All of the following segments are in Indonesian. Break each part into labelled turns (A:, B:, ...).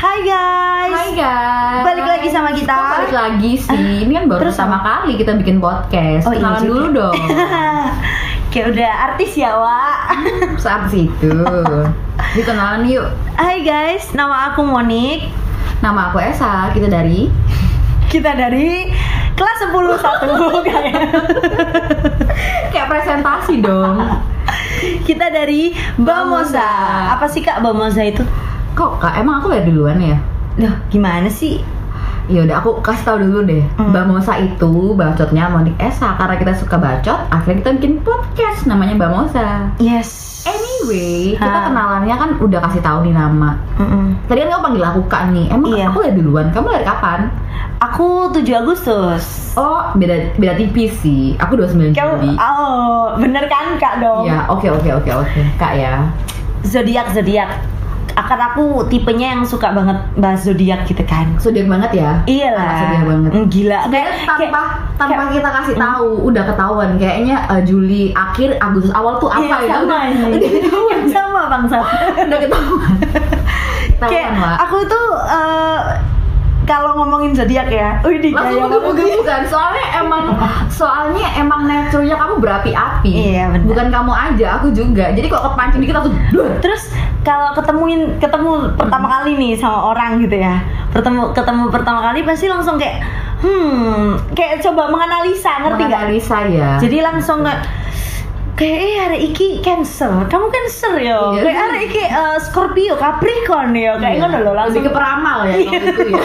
A: Hai guys.
B: Hai guys.
A: Balik lagi sama kita.
B: Kok balik lagi sih. Ini kan baru
A: Terus
B: pertama kali kita bikin podcast.
A: Oh, iya
B: Kenalan
A: juga.
B: dulu dong.
A: Kayak udah artis ya, Wak.
B: Saat situ. Yuk kenalan yuk.
A: Hai guys, nama aku Monik.
B: Nama aku Esa. Kita dari
A: Kita dari kelas 10 satu kayaknya.
B: kayak presentasi dong.
A: Kita dari Bamosa.
B: Bamosa.
A: Apa sih Kak Bamosa itu?
B: Kok kak emang aku bayar duluan ya?
A: Loh, gimana sih?
B: Ya udah aku kasih tahu dulu deh.
A: Hmm.
B: Bamosa itu bacotnya Monik Esa karena kita suka bacot, akhirnya kita bikin podcast namanya Bamosa.
A: Yes.
B: Anyway, kita
A: Ha.
B: kenalannya kan udah kasih tahu nih nama.
A: Mm-mm.
B: Tadi kan kamu panggil aku Kak nih. Emang
A: Iya.
B: aku udah duluan. Kamu dari kapan?
A: Aku 7 Agustus.
B: Oh, beda beda tipis sih. Aku 29 Juli.
A: Kamu oh, bener kan Kak dong?
B: Iya, oke oke oke oke. Kak ya.
A: Zodiak zodiak. Akan aku tipenya yang suka banget bahas zodiak gitu kan.
B: Zodiak banget ya.
A: Iya lah.
B: Anak Zodiak banget.
A: Mm, Gila.
B: Sebenarnya tanpa tanpa kita kasih
A: Mm.
B: tahu udah ketahuan kayaknya eh, Juli akhir Agustus awal tuh apa
A: Iya,
B: ya?
A: sama
B: Udah-
A: ini.
B: udah ketahuan.
A: sama bang Sat.
B: Udah ketahuan. kan,
A: Kayak
B: Ketahuan lah.
A: aku tuh eh, kalau ngomongin zodiak ya, wih di
B: Langsung menggebu-gebu kan soalnya emang soalnya emang nature-nya kamu berapi-api.
A: Iya, benar.
B: Bukan kamu aja, aku juga. Jadi kalau kepancing dikit aku duh.
A: Terus kalau ketemuin ketemu pertama
B: Hmm.
A: kali nih sama orang gitu ya, pertemu ketemu pertama kali pasti langsung kayak hmm kayak coba menganalisa ngerti nggak?
B: Menganalisa ya.
A: Jadi langsung kayak kayak eh hari iki Cancer, kamu Cancer yo.
B: Iya.
A: Kayak hari iki eh, Scorpio, Capricorn yo. Kayak
B: Iya.
A: ngono loh langsung
B: lebih ke peramal ya kalau itu ya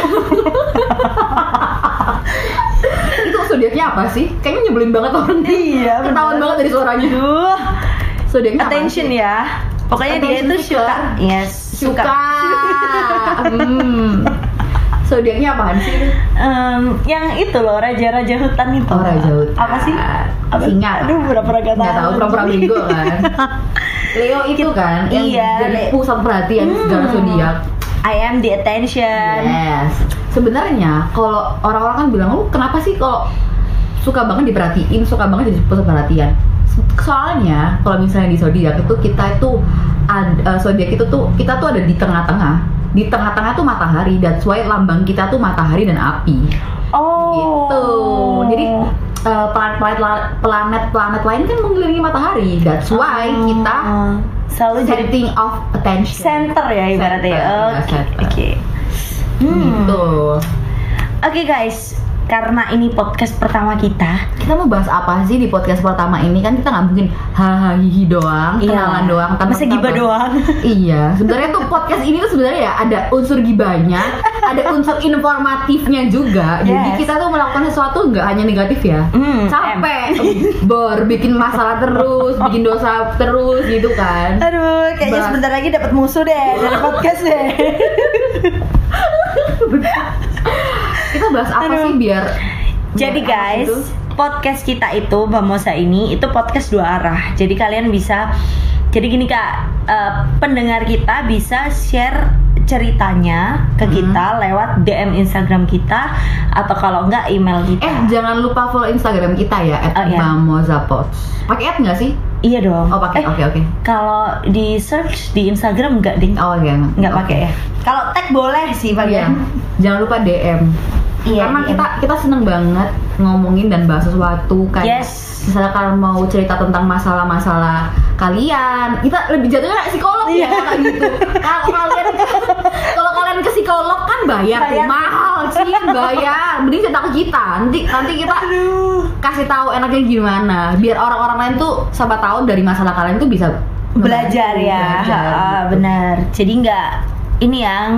B: itu zodiaknya apa sih kayaknya nyebelin banget orang
A: Iya,
B: ketahuan
A: bener.
B: banget dari suaranya
A: Duh,
B: zodiaknya apa
A: attention
B: sih?
A: ya. Pokoknya
B: Attention
A: dia itu
B: seeker.
A: suka. Yes,
B: suka, hmm. zodiaknya apaan sih
A: Em, yang itu loh raja-raja hutan itu.
B: Oh, raja hutan.
A: Apa sih? Apa?
B: Singa.
A: Aduh, pura-pura gak tahu.
B: nggak tahu pura-pura bego kan Leo itu kan yang
A: Iya,
B: jadi
A: Le-
B: pusat perhatian segala
A: Hmm.
B: zodiak
A: I am the attention.
B: Yes. Sebenarnya kalau orang-orang kan bilang lu kenapa sih kalau suka banget diperhatiin, suka banget jadi pusat perhatian. Se- Soalnya kalau misalnya di zodiak itu kita itu ad- eh, zodiak itu tuh kita tuh ada di tengah-tengah. Di tengah-tengah tuh matahari, that's why lambang kita tuh matahari dan api.
A: Oh.
B: Gitu. Jadi eh, planet-planet la- planet-planet lain kan mengelilingi matahari. That's why
A: Oh.
B: kita
A: selalu jadi
B: setting of attention.
A: center ya ibaratnya.
B: Center, iya,
A: Oke.
B: center.
A: Oke. Hmm.
B: Gitu.
A: Oke guys, karena ini podcast pertama kita,
B: kita mau bahas apa sih di podcast pertama ini kan kita nggak mungkin hahaha hihi doang
A: Iya.
B: kenalan doang tanpa
A: masa
B: kita
A: gibah
B: bahas-
A: doang.
B: iya sebenarnya tuh podcast ini tuh sebenarnya ya ada unsur gibahnya ada unsur informatifnya juga jadi
A: Yes.
B: kita tuh melakukan sesuatu nggak hanya negatif ya
A: Hmm,
B: capek bor bikin masalah terus bikin dosa terus gitu
A: em.
B: kan
A: Aduh, kayaknya
B: Bahas-
A: sebentar lagi dapat musuh deh dari podcast deh.
B: kita bahas apa
A: Aduh.
B: sih biar
A: Jadi
B: biar apa
A: guys,
B: itu?
A: podcast kita itu Bamosa ini itu podcast dua arah. Jadi kalian bisa jadi gini Kak, eh, pendengar kita bisa share ceritanya ke
B: Hmm.
A: kita lewat DM Instagram kita atau kalau enggak email kita.
B: eh jangan lupa follow instagram kita ya at
A: Oh, iya.
B: pakai ad nggak sih
A: iya dong.
B: oh pakai
A: Eh,
B: oke oke
A: Kalau di search di Instagram enggak ding.
B: Oh iya,
A: Enggak
B: oke.
A: pakai ya. Kalau tag boleh sih
B: Iya.
A: bagian.
B: Jangan lupa DM.
A: Iya,
B: Karena
A: DM.
B: kita kita seneng banget ngomongin dan bahas sesuatu kayak
A: Yes.
B: misalnya kalian mau cerita tentang masalah-masalah kalian, kita lebih jatuhnya kayak psikolog
A: Iya.
B: ya kalau gitu. Kalau kalian kalau kalian ke psikolog kan bayar, tuh,
A: Bayar.
B: mahal sih bayar. Mending cerita ke kita. Nanti nanti kita
A: Aduh.
B: kasih tahu enaknya gimana biar orang-orang lain tuh siapa tahu dari masalah kalian tuh bisa
A: belajar ya
B: belajar,
A: Ah,
B: gitu.
A: benar jadi nggak ini yang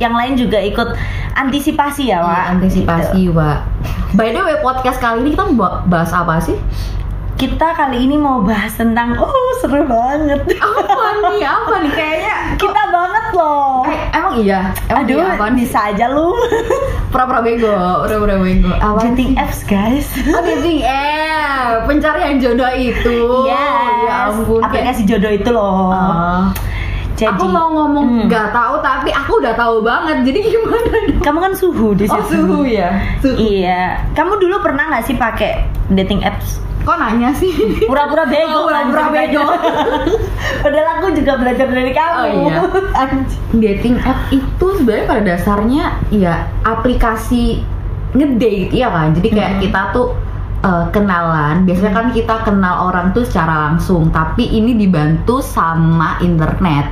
A: yang lain juga ikut antisipasi ya
B: Iya,
A: Wak Gitu.
B: antisipasi, Wak. By the way, podcast kali ini kita mau bahas apa sih?
A: kita kali ini mau bahas tentang oh seru banget
B: Apa nih? Apa nih? Kayaknya
A: kita banget loh
B: Eh, emang iya. Emang
A: aduh
B: iya apaan sih?
A: bisa aja lu
B: Pura-pura bego, pura-pura bego. Apa?
A: dating apps guys
B: Oh, dating app. Pencarian jodoh itu.
A: Yes.
B: Ya ampun. kayak-
A: aplikasi jodoh itu loh
B: Oh.
A: jadi
B: aku mau
A: Hmm.
B: ngomong nggak tahu tapi aku udah tahu banget. Jadi gimana? dong?
A: kamu kan suhu di
B: Oh,
A: situ
B: suhu ya. Suhu.
A: iya kamu dulu pernah nggak sih pakai dating apps
B: Kok nanya sih?
A: pura-pura bego
B: Oh, pura-pura
A: anjing,
B: bego.
A: tanya. padahal aku juga belajar dari kamu
B: Oh, iya.
A: Anjing.
B: Dating app itu sebenarnya pada dasarnya ya aplikasi ngedate ya kan. Jadi kayak
A: Hmm.
B: kita tuh eh, kenalan. Biasanya kan kita kenal orang tuh secara langsung, tapi ini dibantu sama internet.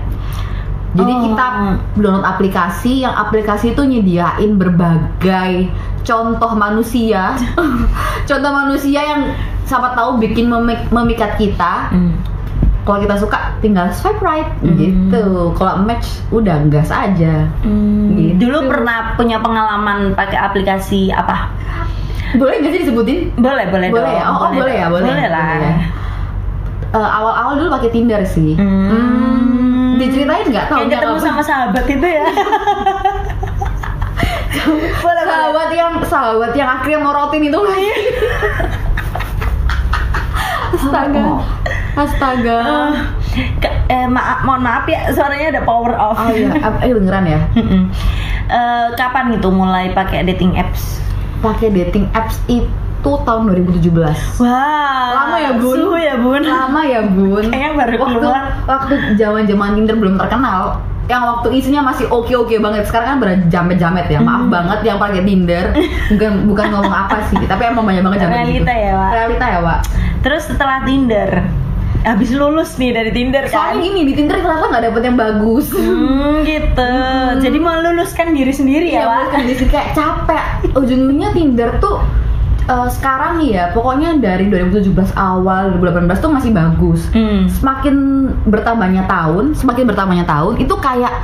B: Jadi
A: Oh.
B: kita download aplikasi yang aplikasi itu nyediain berbagai contoh manusia, contoh manusia yang siapa tahu bikin memik- memikat kita. Kalau kita suka tinggal swipe right
A: Hmm.
B: gitu. Kalau match udah gas aja.
A: Hmm,
B: Gitu.
A: dulu pernah punya pengalaman pakai aplikasi apa
B: Boleh nggak sih disebutin?
A: boleh boleh
B: Boleh
A: dong,
B: ya? Oh, oh, boleh ya, boleh.
A: lah
B: Boleh. Eh, awal-awal dulu pakai Tinder sih.
A: Hmm.
B: Hmm, Diceritain
A: Kayak
B: nggak? tahunnya
A: ketemu
B: kapan?
A: sama sahabat itu ya boleh boleh
B: sahabat yang sahabat yang akhirnya morotin itu kan astaga
A: Oh.
B: astaga
A: Eh, ke- eh, maaf, mohon maaf ya suaranya ada power off.
B: oh iya Ap- eh beneran ya
A: Mm-mm. Eh, kapan itu mulai pakai dating apps?
B: pakai dating apps itu tahun 2017
A: Wah,
B: lama ya bun
A: Suhu ya bun.
B: lama ya bun
A: Kayaknya baru
B: waktu
A: keluar.
B: waktu zaman zaman Tinder belum terkenal yang waktu isinya masih oke oke banget sekarang kan berjamet jamet ya maaf
A: Hmm.
B: banget yang pakai Tinder bukan bukan ngomong apa sih tapi emang banyak banget jamet gitu.
A: Realita ya, Wak.
B: realita ya Wak
A: Terus setelah Tinder, habis lulus nih dari Tinder
B: soalnya
A: kan?
B: gini di Tinder ternyata nggak dapet yang bagus
A: Hmm, gitu. Jadi meluluskan diri sendiri ya,
B: Iya,
A: Wak.
B: bener, kondisi kayak capek. Ujungnya Tinder tuh eh, sekarang nih ya, pokoknya dari 2017 awal 2018 tuh masih bagus.
A: Hmm.
B: Semakin bertambahnya tahun, semakin bertambahnya tahun itu kayak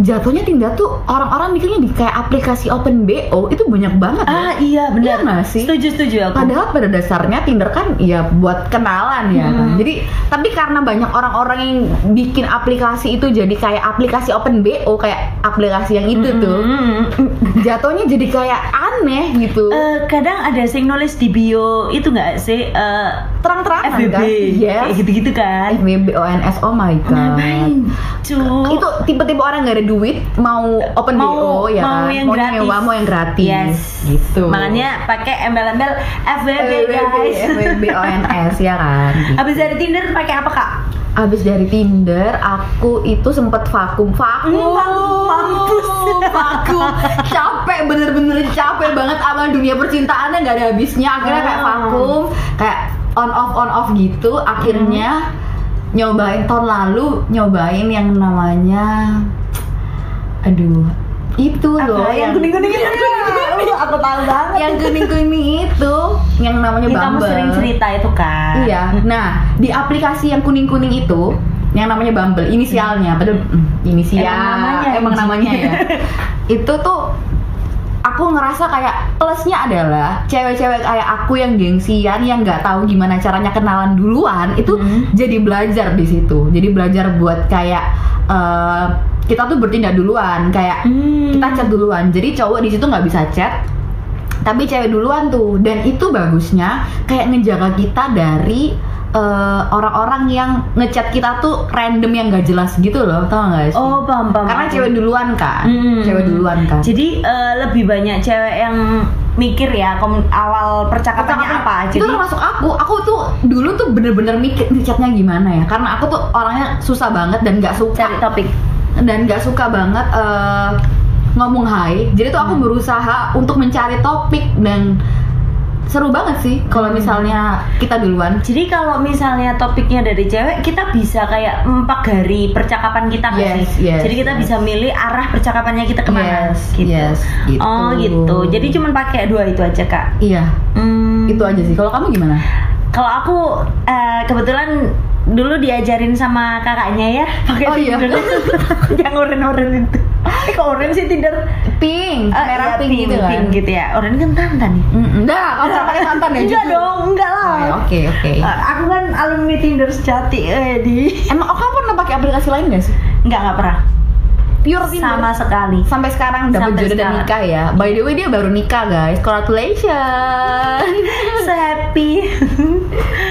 B: jatuhnya Tinder tuh orang-orang mikirnya di kayak aplikasi Open BO itu banyak banget. ya.
A: Ah iya benar.
B: Iya nggak sih?
A: Setuju setuju aku.
B: Padahal pada dasarnya Tinder kan ya buat kenalan ya
A: Hmm.
B: kan. Jadi tapi karena banyak orang-orang yang bikin aplikasi itu jadi kayak aplikasi Open BO kayak aplikasi yang itu
A: Hmm,
B: tuh
A: Mm-mm.
B: jatuhnya jadi kayak aneh gitu
A: Eh, kadang ada yang nulis di bio itu nggak sih eh,
B: terang-terangan
A: FBB
B: kan
A: kayak Nah,
B: yes
A: gitu-gitu kan.
B: FBB ONS oh my god
A: Ngapain? Cuk.
B: itu tipe-tipe orang nggak ada duit mau open
A: Oh. Mau-
B: BO ya
A: mau
B: kan
A: yang
B: mau
A: gratis.
B: nyewa mau yang gratis
A: Yes.
B: gitu Eh,
A: Makanya pakai embel-embel FBB
B: FBB,
A: guys.
B: FBB ONS ya kan gitu.
A: Habis dari Tinder pakai apa, Kak?
B: Abis dari Tinder, aku itu sempet vakum Vakum,
A: Hmm, vakum, mampus.
B: Vakum Capek, bener-bener capek banget sama dunia percintaannya nggak ada habisnya Akhirnya kayak
A: Ah.
B: vakum Kayak on off, on off gitu
A: Hmm.
B: Akhirnya nyobain tahun lalu Nyobain yang namanya Aduh Itu Iya. loh
A: Apa? yang kuning-kuning itu. Aduh, aku tahu banget.
B: Yang kuning-kuning itu Yang namanya
A: Ini kamu
B: Bumble
A: sering cerita itu kan.
B: Iya. Nah, di aplikasi yang kuning-kuning itu yang namanya Bumble, inisialnya, padahal mm, inisial,
A: Hmm. Emang namanya,
B: emang
A: anjing.
B: namanya ya. itu tuh aku ngerasa kayak plusnya adalah cewek-cewek kayak aku yang gengsian yang nggak tahu gimana caranya kenalan duluan itu
A: Hmm.
B: jadi belajar di situ. Jadi belajar buat kayak eh, kita tuh bertindak duluan kayak
A: Hmm.
B: kita chat duluan jadi cowok di situ nggak bisa chat tapi cewek duluan tuh dan itu bagusnya kayak ngejaga kita dari eh, orang-orang yang ngechat kita tuh random yang gak jelas gitu loh tau gak sih
A: Oh, paham, paham.
B: karena cewek duluan kan
A: Hmm.
B: cewek duluan kan
A: Jadi eh, lebih banyak cewek yang mikir ya kom- awal percakapannya apa.
B: itu
A: Jadi ah,
B: termasuk aku aku tuh dulu tuh bener-bener mikir ngechatnya gimana ya karena aku tuh orangnya susah banget dan nggak suka
A: cari topik.
B: dan nggak suka banget eh, ngomong hai jadi tuh aku
A: Hmm.
B: berusaha untuk mencari topik dan seru banget sih
A: Hmm.
B: kalau misalnya kita duluan
A: Jadi kalau misalnya topiknya dari cewek, kita bisa kayak mempagari percakapan kita nggak
B: Yes,
A: sih?
B: yes,
A: Jadi kita
B: yes.
A: bisa milih arah percakapannya kita kemana.
B: Yes,
A: gitu.
B: yes, gitu.
A: Oh gitu. Jadi cuman pakai dua itu aja kak.
B: iya
A: Hmm,
B: itu aja sih kalau kamu gimana
A: Kalau aku eh, kebetulan dulu diajarin sama kakaknya ya pakai
B: Oh, iya.
A: Tinder yang oren-oren itu. Eh kok oren sih Tinder? Eh,
B: pink
A: iya,
B: merah pink, gitu kan
A: pink gitu ya. Oren kan tantan nih.
B: Mm-mm. Dah, kamu nggak pakai santan ya
A: Enggak
B: jujur.
A: dong, enggak
B: Oh,
A: lah.
B: ya, oke oke
A: Eh, aku kan alumni Tinder sejati, eh di.
B: emang oh, kamu pernah pakai aplikasi lain nggak sih
A: Enggak enggak pernah.
B: pure Tinder.
A: Sama sekali.
B: sampai sekarang dapat
A: Sampai
B: jodoh dan
A: sekarang.
B: nikah ya by the way dia baru nikah guys congratulations
A: so happy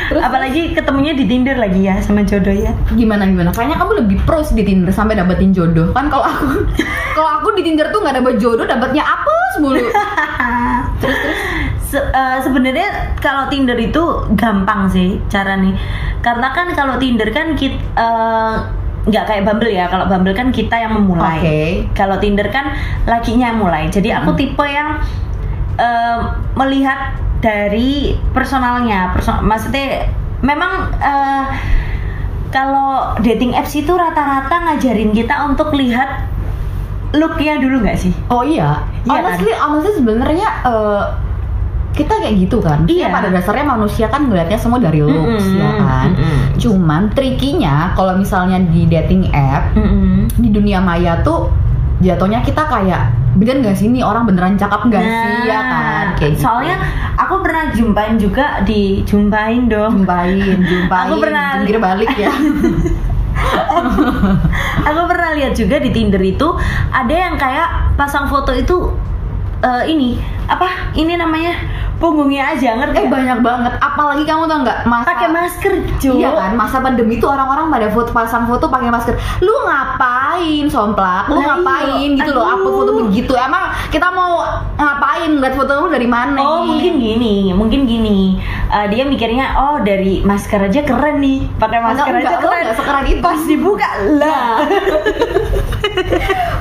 B: Terus?
A: apalagi ketemunya di Tinder lagi ya sama jodoh ya
B: gimana gimana kayaknya kamu lebih pros di Tinder sampai dapetin jodoh kan kalau aku kalau aku di Tinder tuh nggak dapet jodoh dapetnya apes mulu
A: Se- eh, sebenarnya kalau Tinder itu gampang sih cara nih karena kan kalau Tinder kan kita nggak kayak Bumble ya kalau Bumble kan kita yang memulai
B: Oke.
A: kalau Tinder kan lakinya yang mulai jadi aku
B: Hmm.
A: tipe yang eh, melihat dari personalnya perso- maksudnya memang eh, kalau dating apps itu rata-rata ngajarin kita untuk lihat looknya dulu nggak sih
B: Oh iya,
A: Iya kan?
B: honestly, honestly sebenarnya eh, kita kayak gitu kan. Maksudnya
A: Iya.
B: Pada dasarnya manusia kan ngelihatnya semua dari looks
A: Mm-mm,
B: ya kan.
A: mm-mm.
B: Cuman trikinya kalau misalnya di dating app
A: Mm-mm.
B: di dunia maya tuh jatuhnya kita kayak bener nggak sih ini orang beneran cakep nggak sih ya kan? Kayak gitu.
A: Nah, soalnya aku pernah jumpain juga di jumpain
B: Hmm.
A: dong.
B: jumpain, jumpain,
A: Aku pernah-
B: jungkir balik ya.
A: Aku pernah lihat juga di Tinder itu ada yang kayak pasang foto itu eh, ini apa? Ini namanya punggungnya aja ngerti?
B: eh
A: nggak?
B: banyak banget. Apalagi kamu tau nggak masa
A: Pakai masker cuy.
B: Iya kan, masa pandemi tuh orang-orang pada foto pasang foto pakai masker. Lu ngapain, somplak? Lu
A: Lah,
B: ngapain
A: iya.
B: gitu loh, upload foto
A: Aduh.
B: begitu. Emang kita mau ngapain? Lihat foto lu dari mana?
A: Oh
B: nih?
A: mungkin gini, mungkin gini. Eh, dia mikirnya oh dari masker aja keren nih, pakai
B: Enggak,
A: masker aja
B: enggak, lu
A: keren.
B: enggak Nah. sekeren itu.
A: Pas dibuka lah.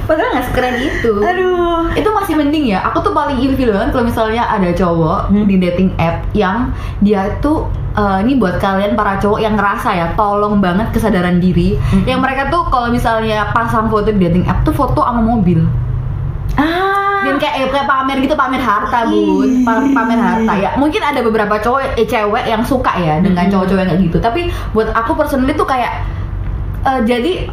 B: Padahal nggak sekeren itu.
A: Aduh.
B: Itu masih mending ya. Aku tuh paling ilfil banget kalau misalnya ada cowok
A: Hmm.
B: di dating app yang dia tuh eh, ini buat kalian para cowok yang ngerasa ya, tolong banget kesadaran diri. Yang mereka tuh kalau misalnya pasang foto di dating app tuh foto sama mobil.
A: Ah.
B: dan kayak eh, kayak pamer gitu pamer harta
A: Iya.
B: bun Pa- pamer harta ya mungkin ada beberapa cowok eh, cewek yang suka ya dengan
A: Mhm.
B: cowok-cowok yang kayak gitu tapi buat aku personally tuh kayak eh, jadi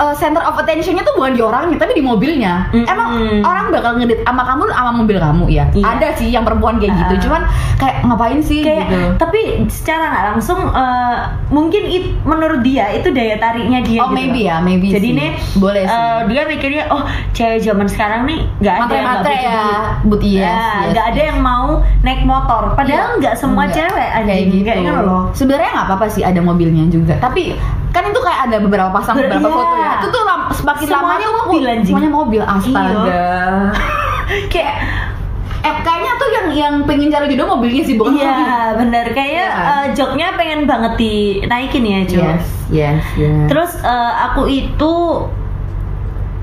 B: eh, center of attentionnya tuh bukan di orangnya tapi di mobilnya
A: Mhm.
B: emang orang bakal ngedit sama kamu sama mobil kamu ya
A: Iya.
B: ada sih yang perempuan kayak gitu
A: Ah.
B: cuman kayak ngapain sih
A: kayak
B: gitu
A: tapi secara nggak langsung eh, mungkin it- menurut dia itu daya tariknya dia
B: oh
A: gitu
B: maybe
A: loh.
B: ya maybe
A: jadi
B: sih.
A: nih
B: boleh sih
A: eh, dia mikirnya oh cewek zaman sekarang nih nggak ada yang nggak
B: matre-matre
A: butuh
B: ya
A: duit."
B: but yes,
A: Nah,
B: yes,
A: nggak ada
B: yes.
A: yang mau naik motor padahal
B: Iya.
A: nggak semua
B: Nggak.
A: cewek ada
B: kayak gitu.
A: loh
B: Sebenarnya nggak apa-apa sih ada mobilnya juga. Tapi kan itu kayak ada beberapa pasang
A: Ber-
B: beberapa
A: iya.
B: foto ya. Itu tuh lam- semakin
A: Semuanya
B: lamanya aku-
A: mobil, anjing.
B: Semuanya mobil astaga.
A: Iya. kayak
B: Eh kayaknya tuh yang yang pengen cari jodoh mobilnya sih bukan
A: iya
B: mobil.
A: bener kayaknya
B: Iya.
A: eh, joknya pengen banget dinaikin ya cuy
B: Yes, yes, yes.
A: Terus eh, aku itu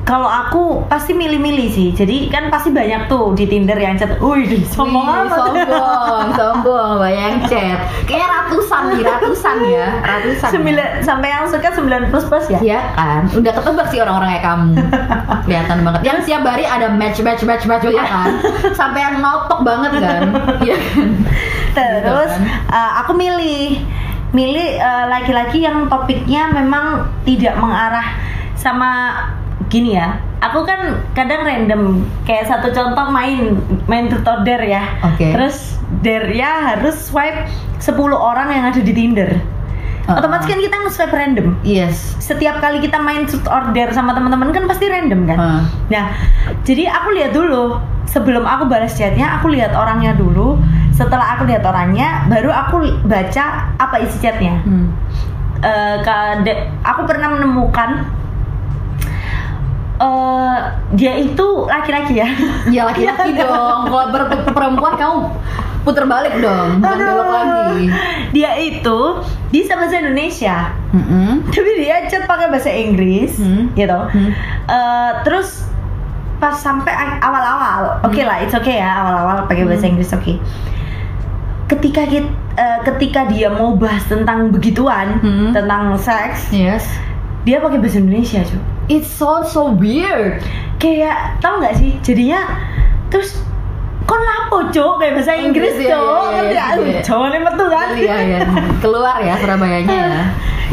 A: kalau aku pasti milih-milih sih. Jadi kan pasti banyak tuh di Tinder yang chat. Wih, di- sombong
B: Wih,
A: amat.
B: sombong, sombong, bayang chat. Kayaknya ratusan nih, ratusan ya, ratusan. ya.
A: Sembilan sampai yang suka 9 plus plus ya.
B: Iya kan, udah ketebak sih orang-orang kayak kamu Kelihatan banget Yang setiap hari ada match, match, match, match ya kan Sampai yang notok banget kan Iya kan
A: Terus
B: Gitu
A: eh, aku milih milih eh, laki-laki yang topiknya memang tidak mengarah sama gini ya. Aku kan kadang random kayak satu contoh main main tutor dare ya.
B: Oke.
A: Terus dare ya harus swipe 10 orang yang ada di Tinder.
B: Uh-uh.
A: Otomatis kan kita nge-swipe random.
B: Yes
A: Setiap kali kita main shoot order sama teman-teman kan pasti random kan.
B: Uh.
A: Nah, jadi aku lihat dulu sebelum aku balas chatnya, aku lihat orangnya dulu. Setelah aku lihat orangnya, baru aku li- baca apa isi chatnya.
B: Hmm.
A: Eh, kade- aku pernah menemukan eh dia itu laki-laki ya.
B: Ya laki-laki dong Kalau ber- perempuan kamu puter balik dong Bukan
A: Aduh.
B: belok lagi
A: Dia itu bisa bahasa Indonesia.
B: Mm-mm.
A: tapi dia chat pakai bahasa Inggris
B: Hmm.
A: gitu
B: Hmm.
A: Eh, terus pas sampai a- awal-awal
B: Hmm.
A: oke lah it's okay ya awal-awal pakai bahasa Inggris oke ketika kita ketika dia mau bahas tentang begituan
B: Hmm.
A: tentang seks
B: Yes
A: dia pakai bahasa Indonesia cuy
B: It sounds so weird
A: kayak tau nggak sih jadinya terus kok lapo cok kayak bahasa Inggris
B: Inggris, iya,
A: cok
B: iya,
A: ngerti
B: iya,
A: nggak? Aduh,
B: iya.
A: Jawa nih metu kan
B: Iya ya Keluar ya Surabayanya ya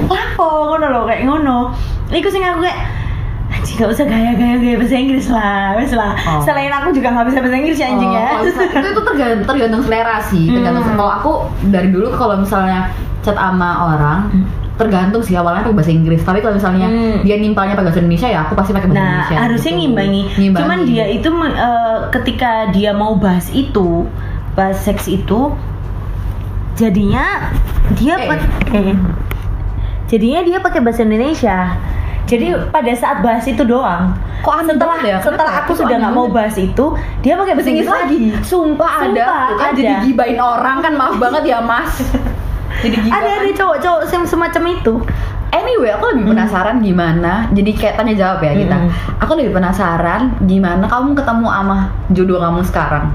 A: lapo ngono loh kayak ngono iku sing aku kayak anjing gak usah gaya-gaya gaya bahasa Inggris lah wes lah
B: Oh.
A: selain aku juga gak bisa bahasa Inggris ya anjing
B: Oh,
A: ya
B: kalau misal- itu itu tergantung, tergantung selera sih. Tergantung
A: Hmm.
B: kalau aku dari dulu kalau misalnya chat sama orang
A: Hmm.
B: tergantung sih awalnya pakai bahasa Inggris. Tapi kalau misalnya
A: Hmm.
B: dia nimpalnya pakai bahasa Indonesia ya aku pasti pakai bahasa
A: nah
B: Indonesia.
A: harusnya
B: gitu.
A: ngimbangi.
B: Ngimbangi.
A: cuman dia itu men- eh, ketika dia mau bahas itu bahas seks itu jadinya eh. dia
B: Eh.
A: pak- eh. jadinya dia pakai bahasa Indonesia Jadi pada saat bahas itu doang.
B: Kok aneh
A: setelah
B: banget Hmm. ya? Kenapa
A: setelah
B: ya?
A: aku
B: Itu
A: sudah
B: aneh
A: nggak mau
B: banget.
A: bahas itu, dia pakai bahasa Inggris lagi.
B: Sumpah, ada.
A: Sumpah,
B: Tuh kan
A: ada.
B: jadi gibain orang kan maaf banget ya Mas. Jadi gibah. kan
A: Ada ada cowok-cowok sem semacam itu.
B: Anyway, aku lebih penasaran gimana. Jadi kayak tanya jawab ya kita.
A: Mm.
B: Aku lebih penasaran gimana kamu ketemu sama jodoh kamu sekarang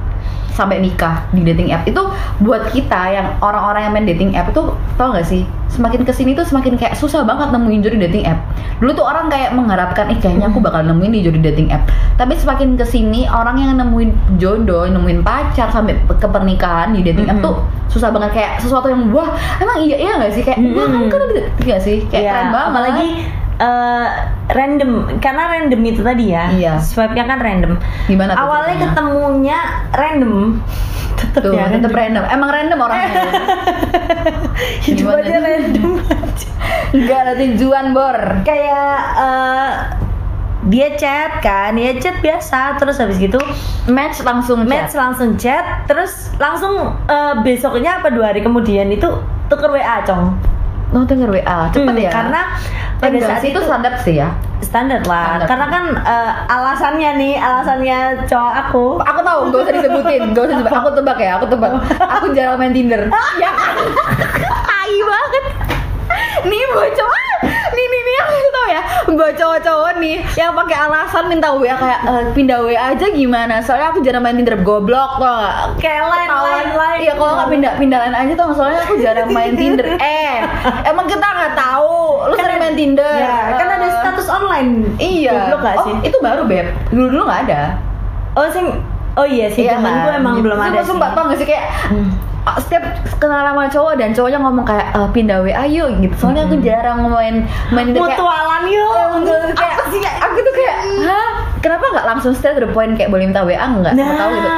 B: sampai nikah di dating app itu buat kita yang orang-orang yang main dating app itu tau gak sih semakin kesini tuh semakin kayak susah banget nemuin jodoh di dating app dulu tuh orang kayak mengharapkan eh kayaknya aku bakal nemuin di jodoh dating app tapi semakin kesini orang yang nemuin jodoh nemuin pacar sampai ke pernikahan di dating app
A: Mhm.
B: tuh susah banget kayak sesuatu yang wah emang iya iya gak sih kayak wah
A: Mhm.
B: kamu kan udah gak sih kayak
A: Iya,
B: keren banget
A: Apalagi eh, random karena random itu tadi ya.
B: Iya.
A: Swipe-nya kan random.
B: gimana tuh
A: Awalnya
B: ceritanya?
A: ketemunya random. Tetep
B: tuh
A: ya,
B: tetep
A: random.
B: random emang random orangnya
A: Hidup
B: Gimana
A: aja
B: tuh?
A: random.
B: nggak ada tujuan bor
A: Kayak eh, dia chat kan, dia chat biasa terus habis gitu
B: match langsung
A: match
B: match
A: langsung chat terus langsung eh, besoknya apa dua hari kemudian itu tuker WA cong.
B: lo Oh, denger wa cepet
A: Hmm,
B: ya
A: Karena
B: pada
A: pada saat itu
B: itu standar sih ya
A: standar lah
B: Standar.
A: karena kan eh, alasannya nih alasannya cowok aku
B: aku tahu gak usah disebutin gak usah disebutin aku tebak ya aku tebak aku jarang main tinder ya kan tai banget nih buat cowok nih nih nih aku tahu ya buat cowok-cowok nih yang pakai alasan minta wa kayak "Eh, pindah wa aja gimana soalnya aku jarang main tinder goblok tau gak
A: kayak lain lain
B: Ketahuan.
A: lain
B: Iya kalau nggak pindah pindah lain aja tau soalnya aku jarang main Tinder. Eh, emang kita nggak tahu. Lu sering main Tinder?
A: ya kan ada
B: Eh,
A: status online
B: Iya.
A: goblok gak sih
B: Oh, itu baru beb. Dulu dulu nggak ada.
A: oh sing oh iya sih
B: Iya
A: temanku
B: kan?
A: emang belum ada
B: Sumpah,
A: sih
B: Sumpah tau gak sih kayak
A: Hmm.
B: ah, setiap kenal sama cowok dan cowoknya ngomong kayak "Eh, pindah WA yuk gitu. Soalnya aku jarang main main Tinder kayak
A: mutualan yuk
B: Aku kayak apa sih aku tuh kayak
A: gitu?
B: hah kenapa nggak langsung straight to the point kayak boleh minta WA nggak
A: nah
B: Nggak tahu gitu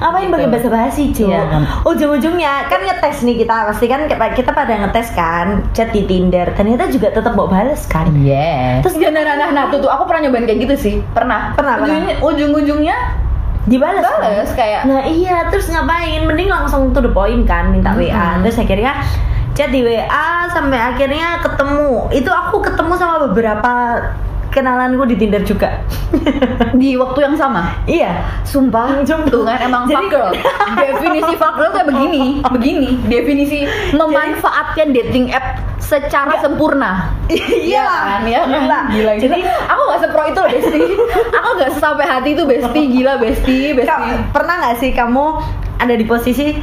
A: ngapain
B: Gitu.
A: pakai bahasa basi cuy
B: Iya.
A: ujung-ujungnya kan ngetes nih kita pasti kan kita, kita pada ngetes kan chat di Tinder ternyata juga tetap mau bales kan
B: Iya. Yes.
A: Terus
B: Terus nah, nah, nah, nah, tuh, tuh aku pernah nyobain kayak gitu sih. Pernah.
A: Pernah,
B: Ujungnya, ujung-ujungnya
A: dibales kan?
B: bales kayak
A: Nah iya, terus ngapain? Mending langsung to the point kan, minta
B: Mhm.
A: WA. Terus akhirnya chat di WA sampai akhirnya ketemu. Itu aku ketemu sama beberapa kenalanku di Tinder juga.
B: di waktu yang sama.
A: iya.
B: Sumpah,
A: Sumpah.
B: tuh kan emang
A: Jadi-
B: fuck girl. Definisi fuck girl kayak begini, begini. Definisi memanfaatkan dating app secara sempurna.
A: Iya
B: kan, ya kan?
A: Gila.
B: Gila, gila.
A: Jadi
B: aku gak sepro itu loh Besti. aku gak sampai hati itu Besti, gila Besti, Besti.
A: ka- pernah nggak sih kamu ada di posisi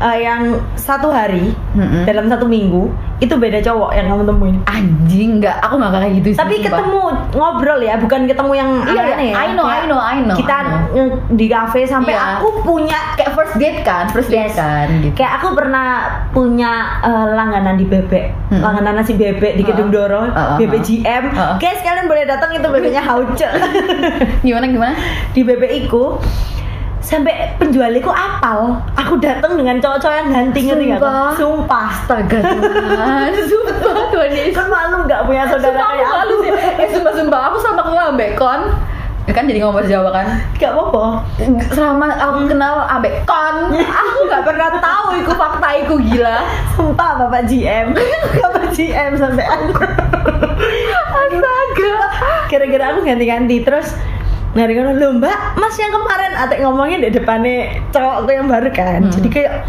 A: eh, yang satu hari
B: Mm-mm.
A: dalam satu minggu itu beda cowok yang kamu temuin?
B: Anjing nggak, aku gak kayak gitu sih.
A: Tapi
B: sumpah.
A: ketemu ngobrol ya, bukan ketemu yang
B: Iya,
A: aneh-aneh ya.
B: I know, I know, I know.
A: Kita
B: I know.
A: nge- di kafe sampai
B: Iya.
A: aku punya
B: kayak first date kan first date
A: Yes.
B: kan gitu
A: Kayak aku pernah punya eh, langganan di bebek,
B: Hmm. Uh-uh.
A: langganan nasi bebek di
B: Heeh.
A: Gedung Doro,
B: Heeh, heeh.
A: bebek GM.
B: Heeh.
A: Guys, kalian boleh datang itu bebeknya hauce.
B: gimana gimana
A: di bebek iku sampai penjualnya ku apal. Aku datang dengan cowok-cowok yang ganti ngerti nggak aku?
B: Sumpah.
A: Sumpah.
B: astaga Tuhan sumpah Tuhan Yesus
A: Kan malu nggak punya saudara
B: sumpah aku
A: kayak aku
B: malu
A: sih.
B: eh sumpah sumpah aku sama kenal ambekon Ya kan jadi ngomong bahasa Jawa kan
A: Gak apa-apa.
B: selama
A: Hmm.
B: aku kenal ambekon aku nggak pernah tahu iku fakta iku gila
A: Sumpah Bapak GM. Bapak GM sampai aku.
B: astaga
A: Gara-gara aku ganti-ganti terus Nah, dia ngomong, "Loh, Mbak, Mas yang kemarin Atek ngomongnya di depannya cowok tuh yang baru kan.
B: Hmm.
A: Jadi kayak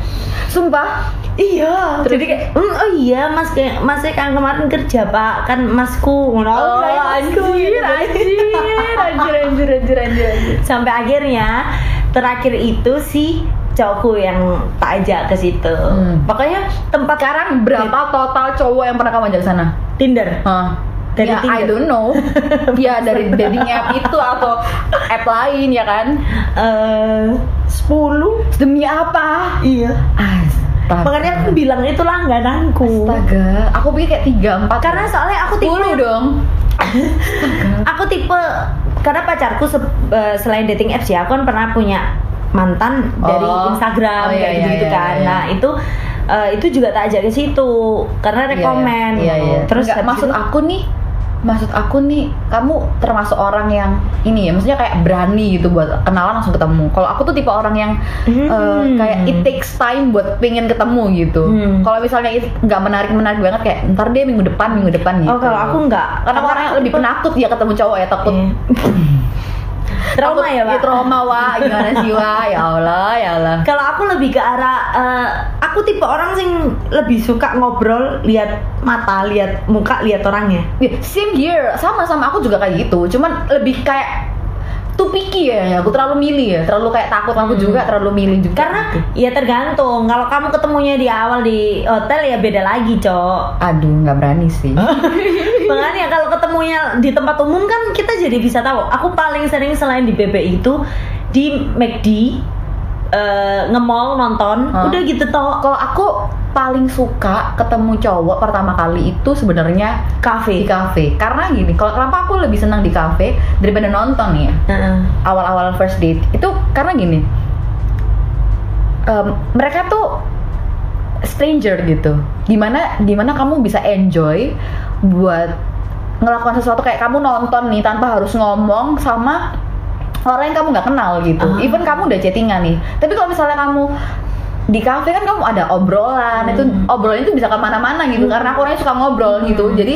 B: sumpah
A: Iya,
B: Terus?
A: jadi kayak "Mm, oh iya mas kayak masnya kan kemarin kerja pak kan masku ngono.
B: oh
A: "Iya,
B: anjir
A: masku."
B: anjir anjir anjir anjir anjir anjir
A: Sampai akhirnya terakhir itu si cowokku yang tak ajak ke situ.
B: Hmm.
A: Pokoknya tempat
B: sekarang berapa total cowok yang pernah kamu ajak ke sana
A: Tinder.
B: Hah.
A: Dari
B: ya,
A: Tinder.
B: I don't know. ya dari dating app itu atau app lain ya kan?
A: Eh, 10
B: Demi apa?
A: Iya.
B: Astaga.
A: Makanya aku bilang itu langgananku.
B: Ah. Astaga, aku pikir kayak tiga empat.
A: Karena soalnya aku tipe
B: sepuluh dong.
A: aku tipe karena pacarku se- eh, selain dating apps ya aku kan pernah punya mantan dari
B: Oh.
A: Instagram
B: Oh, iya,
A: kayak
B: iya,
A: gitu gitu
B: iya,
A: kan
B: iya.
A: nah itu eh, itu juga tak ajak ke situ karena rekomen
B: Iya, iya.
A: terus
B: Nggak,
A: habis
B: maksud
A: itu-
B: aku nih maksud aku nih kamu termasuk orang yang ini ya maksudnya kayak berani gitu buat kenalan langsung ketemu kalau aku tuh tipe orang yang eh,
A: Hmm.
B: kayak it takes time buat pingin ketemu gitu
A: Hmm.
B: kalau misalnya it- nggak menarik menarik banget kayak ntar deh minggu depan minggu depan gitu
A: Oh kalau aku nggak,
B: karena aku orang yang lebih penakut ya ketemu cowok ya takut
A: Iya. trauma
B: takut-
A: ya pak.
B: Iya, trauma wa gimana sih wa ya allah ya allah
A: Kalau aku lebih ke arah, eh, aku tipe orang sing lebih suka ngobrol, lihat mata, lihat muka, lihat orangnya.
B: Ya, same here sama sama aku juga kayak gitu cuman lebih kayak tuh picky ya aku terlalu milih ya terlalu kayak takut aku
A: Hmm.
B: juga terlalu milih juga
A: Karena ya tergantung. Kalau kamu ketemunya di awal di hotel ya beda lagi, cok.
B: aduh nggak berani sih
A: Makanya kalau ketemunya di tempat umum kan kita jadi bisa tahu. Aku paling sering selain di BB itu di McD eh, nge-mall nonton,
B: Hah?
A: udah gitu toh
B: kalau aku paling suka ketemu cowok pertama kali itu sebenarnya di
A: kafe.
B: kafe karena gini kalau kenapa aku lebih senang di kafe daripada nonton nih ya
A: Heeh.
B: awal-awal first date itu karena gini em, mereka tuh stranger gitu dimana dimana kamu bisa enjoy buat ngelakukan sesuatu kayak kamu nonton nih tanpa harus ngomong sama orang yang kamu nggak kenal gitu
A: Ah.
B: even kamu udah chattingan nih tapi kalau misalnya kamu di kafe kan kamu ada obrolan itu
A: Hmm.
B: obrolan itu bisa kemana-mana
A: Hmm.
B: gitu karena aku orangnya suka ngobrol gitu
A: Hmm.
B: jadi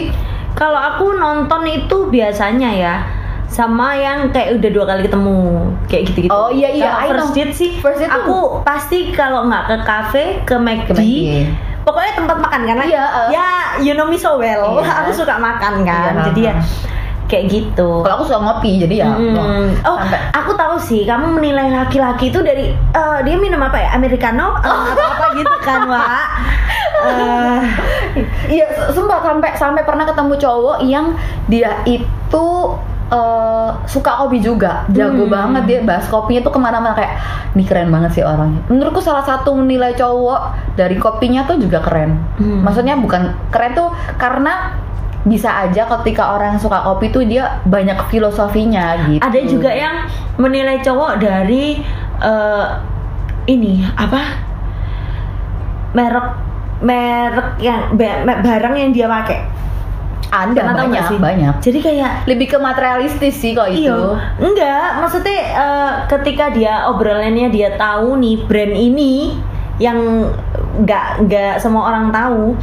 A: Kalau aku nonton itu biasanya ya sama yang kayak udah dua kali ketemu kayak gitu-gitu.
B: Oh, iya, iya, I
A: Kalau first
B: know.
A: date sih,
B: First date tuh-
A: aku pasti kalau nggak ke kafe ke McD,
B: kebagian.
A: pokoknya tempat makan karena
B: Iya, eh.
A: ya you know me so well,
B: Iya.
A: aku suka makan kan,
B: Iya.
A: jadi ya kayak gitu.
B: kalau aku suka ngopi jadi ya
A: Mm.
B: wah,
A: Oh,
B: sampai-
A: aku tahu sih. Kamu menilai laki-laki itu dari eh, dia minum apa ya? Americano
B: Oh.
A: atau apa gitu kan, Wak? Eh,
B: Iya, se- sumpah sampai sampai pernah ketemu cowok yang dia itu eh, suka kopi juga, jago
A: Hmm.
B: banget dia bahas kopinya tuh kemana-mana kayak, nih keren banget sih orangnya. Menurutku salah satu menilai cowok dari kopinya tuh juga keren.
A: Hmm.
B: Maksudnya bukan keren tuh karena bisa aja ketika orang suka kopi tuh dia banyak filosofinya gitu.
A: ada juga ya? yang menilai cowok dari eh, ini apa? merek merek yang ba- ba- barang yang dia pakai.
B: ada
A: Pernah tahu nggak
B: banyak
A: sih?
B: banyak. Gitu.
A: Jadi kayak
B: Lebih ke materialistis sih kalau itu.
A: Iya, enggak. Maksudnya eh, ketika dia obrolannya dia tahu nih brand ini yang enggak enggak semua orang tahu,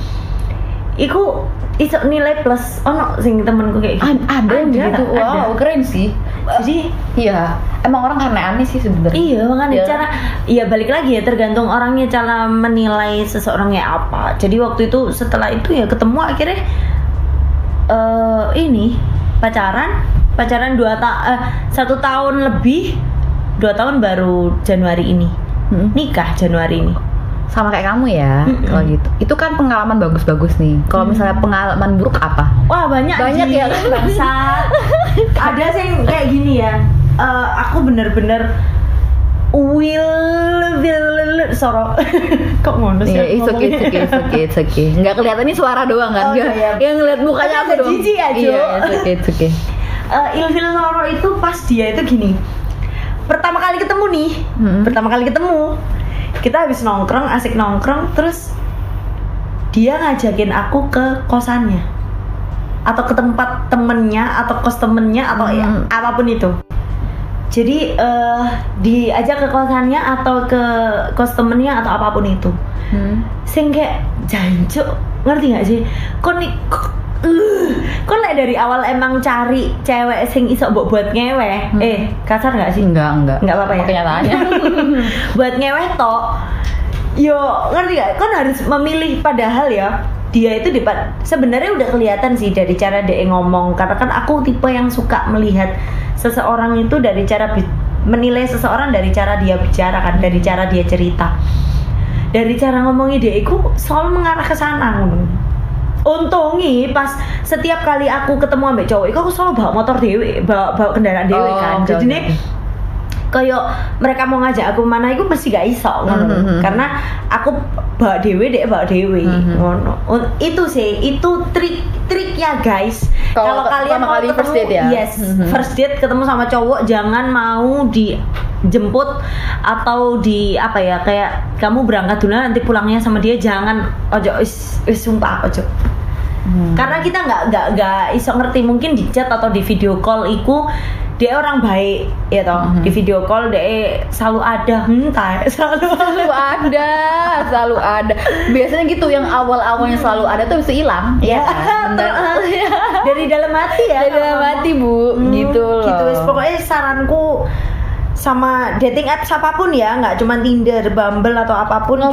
A: iku iso nilai plus. Oh no, sing temenku kayak gitu.
B: An- ada yang
A: Ada,
B: begitu.
A: ada.
B: Wow, keren sih.
A: Jadi
B: Iya, emang orang aneh-aneh sih sebenarnya.
A: iya makanya
B: Iya.
A: cara ya balik lagi ya tergantung orangnya cara menilai seseorangnya apa. Jadi waktu itu setelah itu ya ketemu akhirnya eh ini pacaran pacaran dua ta eh, satu tahun lebih dua tahun baru Januari ini
B: Mm.
A: nikah Januari ini
B: Sama kayak kamu ya,
A: Mm-mm.
B: kalau gitu. Itu kan pengalaman bagus-bagus nih. Kalau misalnya pengalaman buruk apa?
A: wah banyak
B: Banyak
A: Ji,
B: ya, kan?
A: bangsa ada sih yang kayak gini ya Eh, aku bener-bener will will sorok kok ya ngono sih
B: Iya, it's okay, it's okay, it's okay, it's okay. Nggak kelihatan ini suara
A: Oh,
B: doang kan? Nggak-
A: iya.
B: Yang ngeliat
A: Tapi
B: mukanya aku
A: agak
B: doang.
A: jijik ya, Ju.
B: Iya, it's okay, it's okay.
A: Eh, ilfil Loro itu pas dia itu gini pertama kali ketemu nih
B: Mm-mm.
A: pertama kali ketemu kita habis nongkrong asik nongkrong terus dia ngajakin aku ke kosannya atau ke tempat temennya atau kos temennya atau ya,
B: Mm.
A: apapun itu jadi eh diajak ke kosannya atau ke kos temennya atau apapun itu
B: Hmm.
A: sing kayak jancuk ngerti nggak sih kon ni- k- eh, kon lek dari awal emang cari cewek sing iso mbok buat ngeweh
B: Hmm.
A: eh kasar nggak sih
B: Enggak, enggak.
A: Nggak apa-apa ya?
B: Emang Kenyataannya.
A: buat ngeweh tok yo ngerti gak kon harus memilih padahal ya dia itu depan sebenarnya udah kelihatan sih dari cara dia ngomong karena kan aku tipe yang suka melihat seseorang itu dari cara bi- menilai seseorang dari cara dia bicara kan dari cara dia cerita dari cara ngomongnya dia itu selalu mengarah ke sana ngono. Untungi pas setiap kali aku ketemu ambek cowok itu aku selalu bawa motor dewe, bawa, bawa kendaraan dewe
B: Oh,
A: kan.
B: oke,
A: Jadi
B: oke,
A: nih kayak mereka mau ngajak aku mana itu mesti gak iso ngono.
B: Mhm.
A: Karena aku bawa dewe dek bawa dewe
B: Mhm.
A: ngono. Un- Itu sih itu trik-triknya guys. Kalau
B: Kalau
A: kalian
B: pertama
A: mau
B: kali
A: ketemu
B: first date ya?
A: yes,
B: Mhm.
A: first date ketemu sama cowok jangan mau dijemput atau di apa ya kayak kamu berangkat dulu nanti pulangnya sama dia jangan ojo is, is sumpah ojo
B: Hmm.
A: karena kita nggak nggak nggak iso ngerti mungkin di chat atau di video call iku dia orang baik ya toh
B: Mhm.
A: di video call dia selalu ada entah selalu
B: selalu ada selalu ada biasanya gitu yang awal awalnya selalu ada tuh bisa hilang
A: ya
B: kan? Dan-
A: dari dalam hati ya
B: dari dalam
A: kalau
B: hati bu
A: Iya. Hmm,
B: gitu loh
A: Gitu wes. pokoknya saranku sama dating apps apapun ya, nggak cuma Tinder, Bumble atau apapun. juga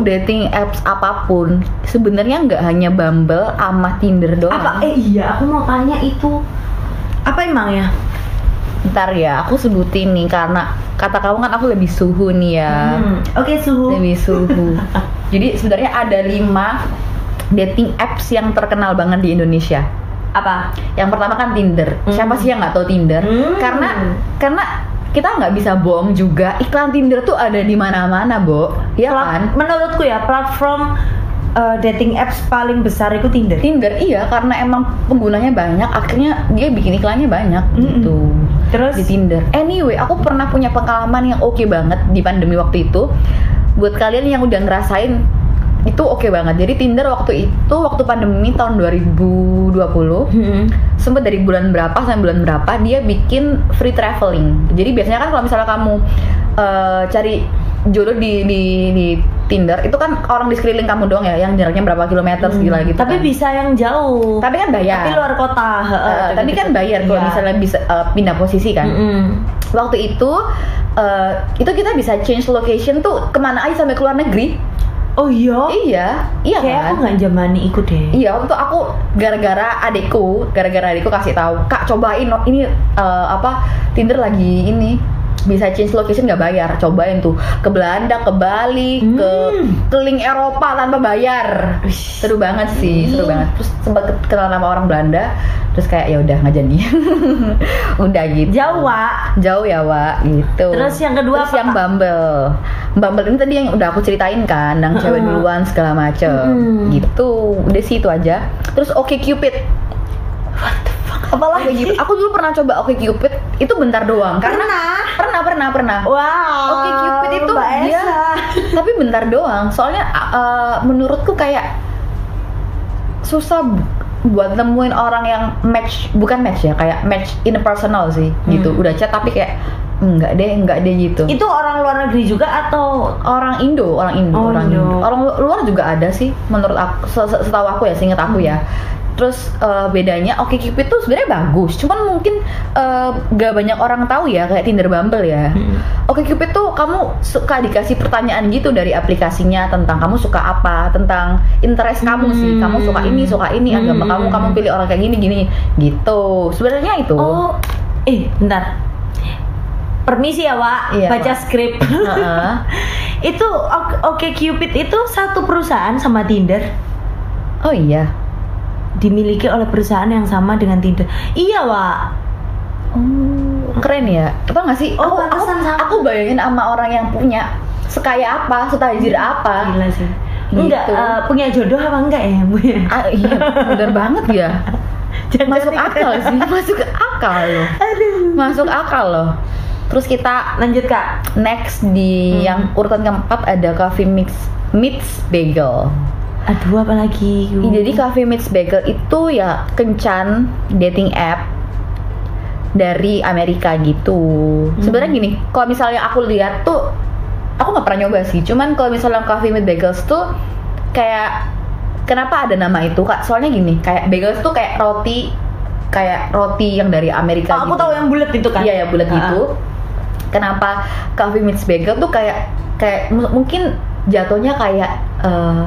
A: kayak gitu.
B: dating apps apapun sebenarnya nggak hanya Bumble ama Tinder doang
A: Apa? Eh iya, aku mau tanya itu. Apa ya? emangnya?
B: ntar ya aku sebutin nih karena kata kamu kan aku lebih suhu nih ya
A: Hmm, Oke suhu.
B: lebih suhu jadi sebenarnya ada lima dating apps yang terkenal banget di Indonesia
A: Apa?
B: yang pertama kan Tinder
A: Hmm.
B: siapa sih yang nggak tahu Tinder
A: Hmm.
B: karena karena kita nggak bisa bohong juga iklan Tinder tuh ada di mana-mana bo ya
A: Pla-
B: kan
A: Menurutku ya platform eh, dating apps paling besar itu Tinder.
B: Tinder iya karena emang penggunanya banyak akhirnya dia bikin iklannya banyak
A: Mm-mm.
B: gitu
A: Terus
B: di Tinder. Anyway, aku pernah punya pengalaman yang oke banget di pandemi waktu itu. Buat kalian yang udah ngerasain itu oke banget. Jadi Tinder waktu itu waktu pandemi tahun 2020
A: Hmm.
B: sempet dari bulan berapa sampai bulan berapa dia bikin free traveling. Jadi biasanya kan kalau misalnya kamu eh, cari jodoh di, di di Tinder itu kan orang di sekeliling kamu doang ya yang jaraknya berapa kilometer segala gitu.
A: Tapi
B: kan.
A: bisa yang jauh.
B: tapi kan bayar.
A: Tapi Iya. luar kota. gitu.
B: Eh, tapi kan bayar kalau misalnya bisa eh, pindah posisi kan waktu itu eh, itu kita bisa change location tuh kemana aja sampai ke luar negeri
A: Oh iya.
B: iya iya
A: Kayak aku
B: kan
A: nggak jamani iku deh.
B: iya waktu itu aku gara-gara adekku gara-gara adekku kasih tahu kak cobain lo- ini eh, apa Tinder lagi ini bisa change location nggak bayar cobain tuh ke Belanda ke Bali ke
A: Hmm.
B: keliling Eropa tanpa bayar
A: Wih. Hmm.
B: seru banget sih seru banget terus sempat ke- kenal sama orang Belanda terus kayak ya udah nggak jadi udah gitu
A: Jawa.
B: jauh ya Wak gitu
A: Terus yang kedua
B: Terus
A: apa,
B: yang
A: Kak?
B: Bumble Bumble ini tadi yang udah aku ceritain kan yang cewek
A: Heeh.
B: duluan segala macem
A: Hmm.
B: gitu udah sih itu aja terus Oke Cupid
A: Apalagi
B: aku dulu pernah coba Oke Cupid itu bentar doang karena
A: Pernah.
B: pernah pernah pernah
A: Wow.
B: Oke Cupid itu
A: Eh, Mbak
B: dia-
A: Elsa.
B: tapi bentar doang soalnya uh, menurutku kayak susah bu- buat nemuin orang yang match bukan match ya kayak match in personal sih gitu
A: Hmm.
B: udah chat tapi kayak enggak deh enggak deh gitu
A: Itu orang luar negeri juga atau
B: orang Indo, orang Indo,
A: Oh,
B: orang
A: Indo.
B: Indo. Orang lu- luar juga ada sih menurut aku se- se- setahu aku ya, seingat aku ya.
A: Hmm.
B: Terus eh, bedanya Oke Cupid tuh sebenarnya bagus, cuman mungkin eh, gak banyak orang tahu ya kayak Tinder Bumble ya. Oke Cupid tuh kamu suka dikasih pertanyaan gitu dari aplikasinya tentang kamu suka apa, tentang interest kamu sih,
A: Hmm.
B: kamu suka ini, suka ini, agama
A: Hmm.
B: kamu, kamu pilih orang kayak gini, gini, gitu. Sebenarnya itu.
A: Oh, eh bentar. Permisi ya, Wak.
B: Iya,
A: Baca
B: Wak.
A: skrip.
B: Heeh.
A: itu O- Oke Cupid itu satu perusahaan sama Tinder
B: Oh iya.
A: dimiliki oleh perusahaan yang sama dengan Tinder. Iya, Wak.
B: Oh, keren ya. Apa nggak sih?
A: Oh,
B: aku, aku,
A: pantesan sama.
B: aku bayangin sama orang yang punya sekaya apa, setajir apa.
A: Hmm. Gila sih.
B: Gitu.
A: Enggak eh, punya jodoh apa enggak ya? Punya.
B: Ah, iya, bener banget ya.
A: Jangan
B: Masuk
A: dikata-
B: akal sih, masuk akal loh.
A: Aduh.
B: Masuk akal loh. Terus kita
A: Lanjut, Kak.
B: next di
A: Hmm.
B: yang urutan keempat ada Coffee Mix Mix Bagel.
A: Aduh, apa lagi?
B: Jadi Coffee Mix Bagel itu ya kencan dating app dari Amerika gitu.
A: Hmm.
B: Sebenarnya gini, kalau misalnya aku lihat tuh aku nggak pernah nyoba sih. Cuman kalau misalnya Coffee Mix Bagels tuh kayak kenapa ada nama itu kak? Soalnya gini, kayak bagels tuh kayak roti kayak roti yang dari Amerika.
A: Oh, aku
B: gitu.
A: tahu yang bulat itu kan.
B: Iya ya bulat
A: Ah,
B: gitu. Kenapa coffee meets bagel tuh kayak kayak mu- mungkin jatuhnya kayak eh,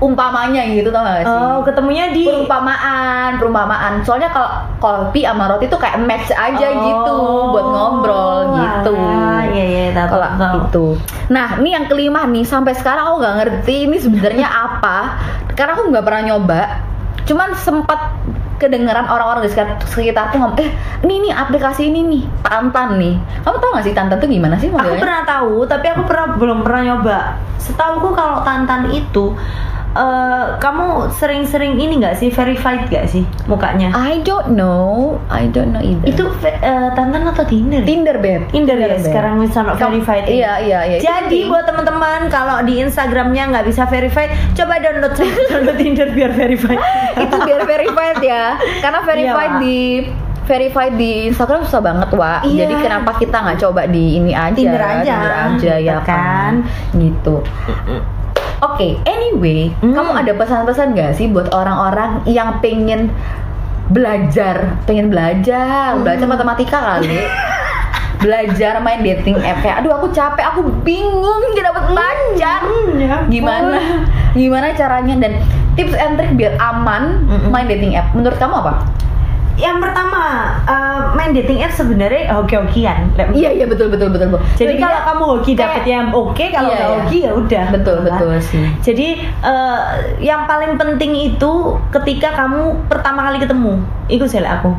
B: umpamanya gitu tau gak
A: ah.
B: sih?
A: Oh, ketemunya di
B: perumpamaan, perumpamaan. Soalnya kalau kopi sama roti tuh kayak match aja
A: Oh,
B: gitu buat ngobrol gitu.
A: alah. Iya, iya, tahu.
B: Kalau
A: tahu.
B: itu. Nah, ini yang kelima nih sampai sekarang aku nggak ngerti ini sebenarnya apa. Karena aku nggak pernah nyoba. Cuman sempat kedengeran orang-orang di sekitar, sekitarku ngomong, eh ini nih aplikasi ini nih Tantan nih. Kamu tau gak sih Tantan tuh gimana sih
A: Aku
B: modelnya?
A: pernah tahu, tapi aku pernah belum pernah nyoba. Setahuku kalau Tantan itu eh, kamu sering-sering ini nggak sih verified nggak sih mukanya?
B: I don't know, I don't know either.
A: Itu ve- eh, Tantan atau Tinder?
B: Tinder beb.
A: Tinder ya
B: Beb.
A: sekarang misalnya
B: Kamu-
A: verified. ini.
B: Iya iya iya. Itu
A: Jadi
B: penting.
A: buat teman-teman kalau di Instagramnya nggak bisa verified, coba download download Tinder biar verified.
B: itu biar verified ya, karena verified
A: Iya, Wak.
B: di verified di Instagram susah banget wa.
A: Iya.
B: Jadi kenapa kita nggak coba di ini aja?
A: Tinder aja,
B: Tinder aja
A: gitu
B: ya
A: kan.
B: kan? Gitu. Oke, anyway,
A: Hmm.
B: kamu ada pesan-pesan gak sih buat orang-orang yang pengen belajar, pengen
A: Mm.
B: belajar, belajar matematika kali, belajar main dating app kayak, aduh aku capek, aku bingung gak dapet pacar, ya gimana, gimana caranya dan tips and trick biar aman
A: Mm-mm.
B: main dating app, menurut kamu apa?
A: Yang pertama eh, main dating app sebenarnya hoki-hokian.
B: Iya iya betul betul betul betul.
A: Jadi kalau kamu hoki dapet yang
B: kayak-
A: oke, kalau
B: Iya,
A: nggak
B: iya.
A: hoki ya udah.
B: betul
A: Kan?
B: betul sih.
A: Jadi eh, yang paling penting itu ketika kamu pertama kali ketemu, itu saya aku.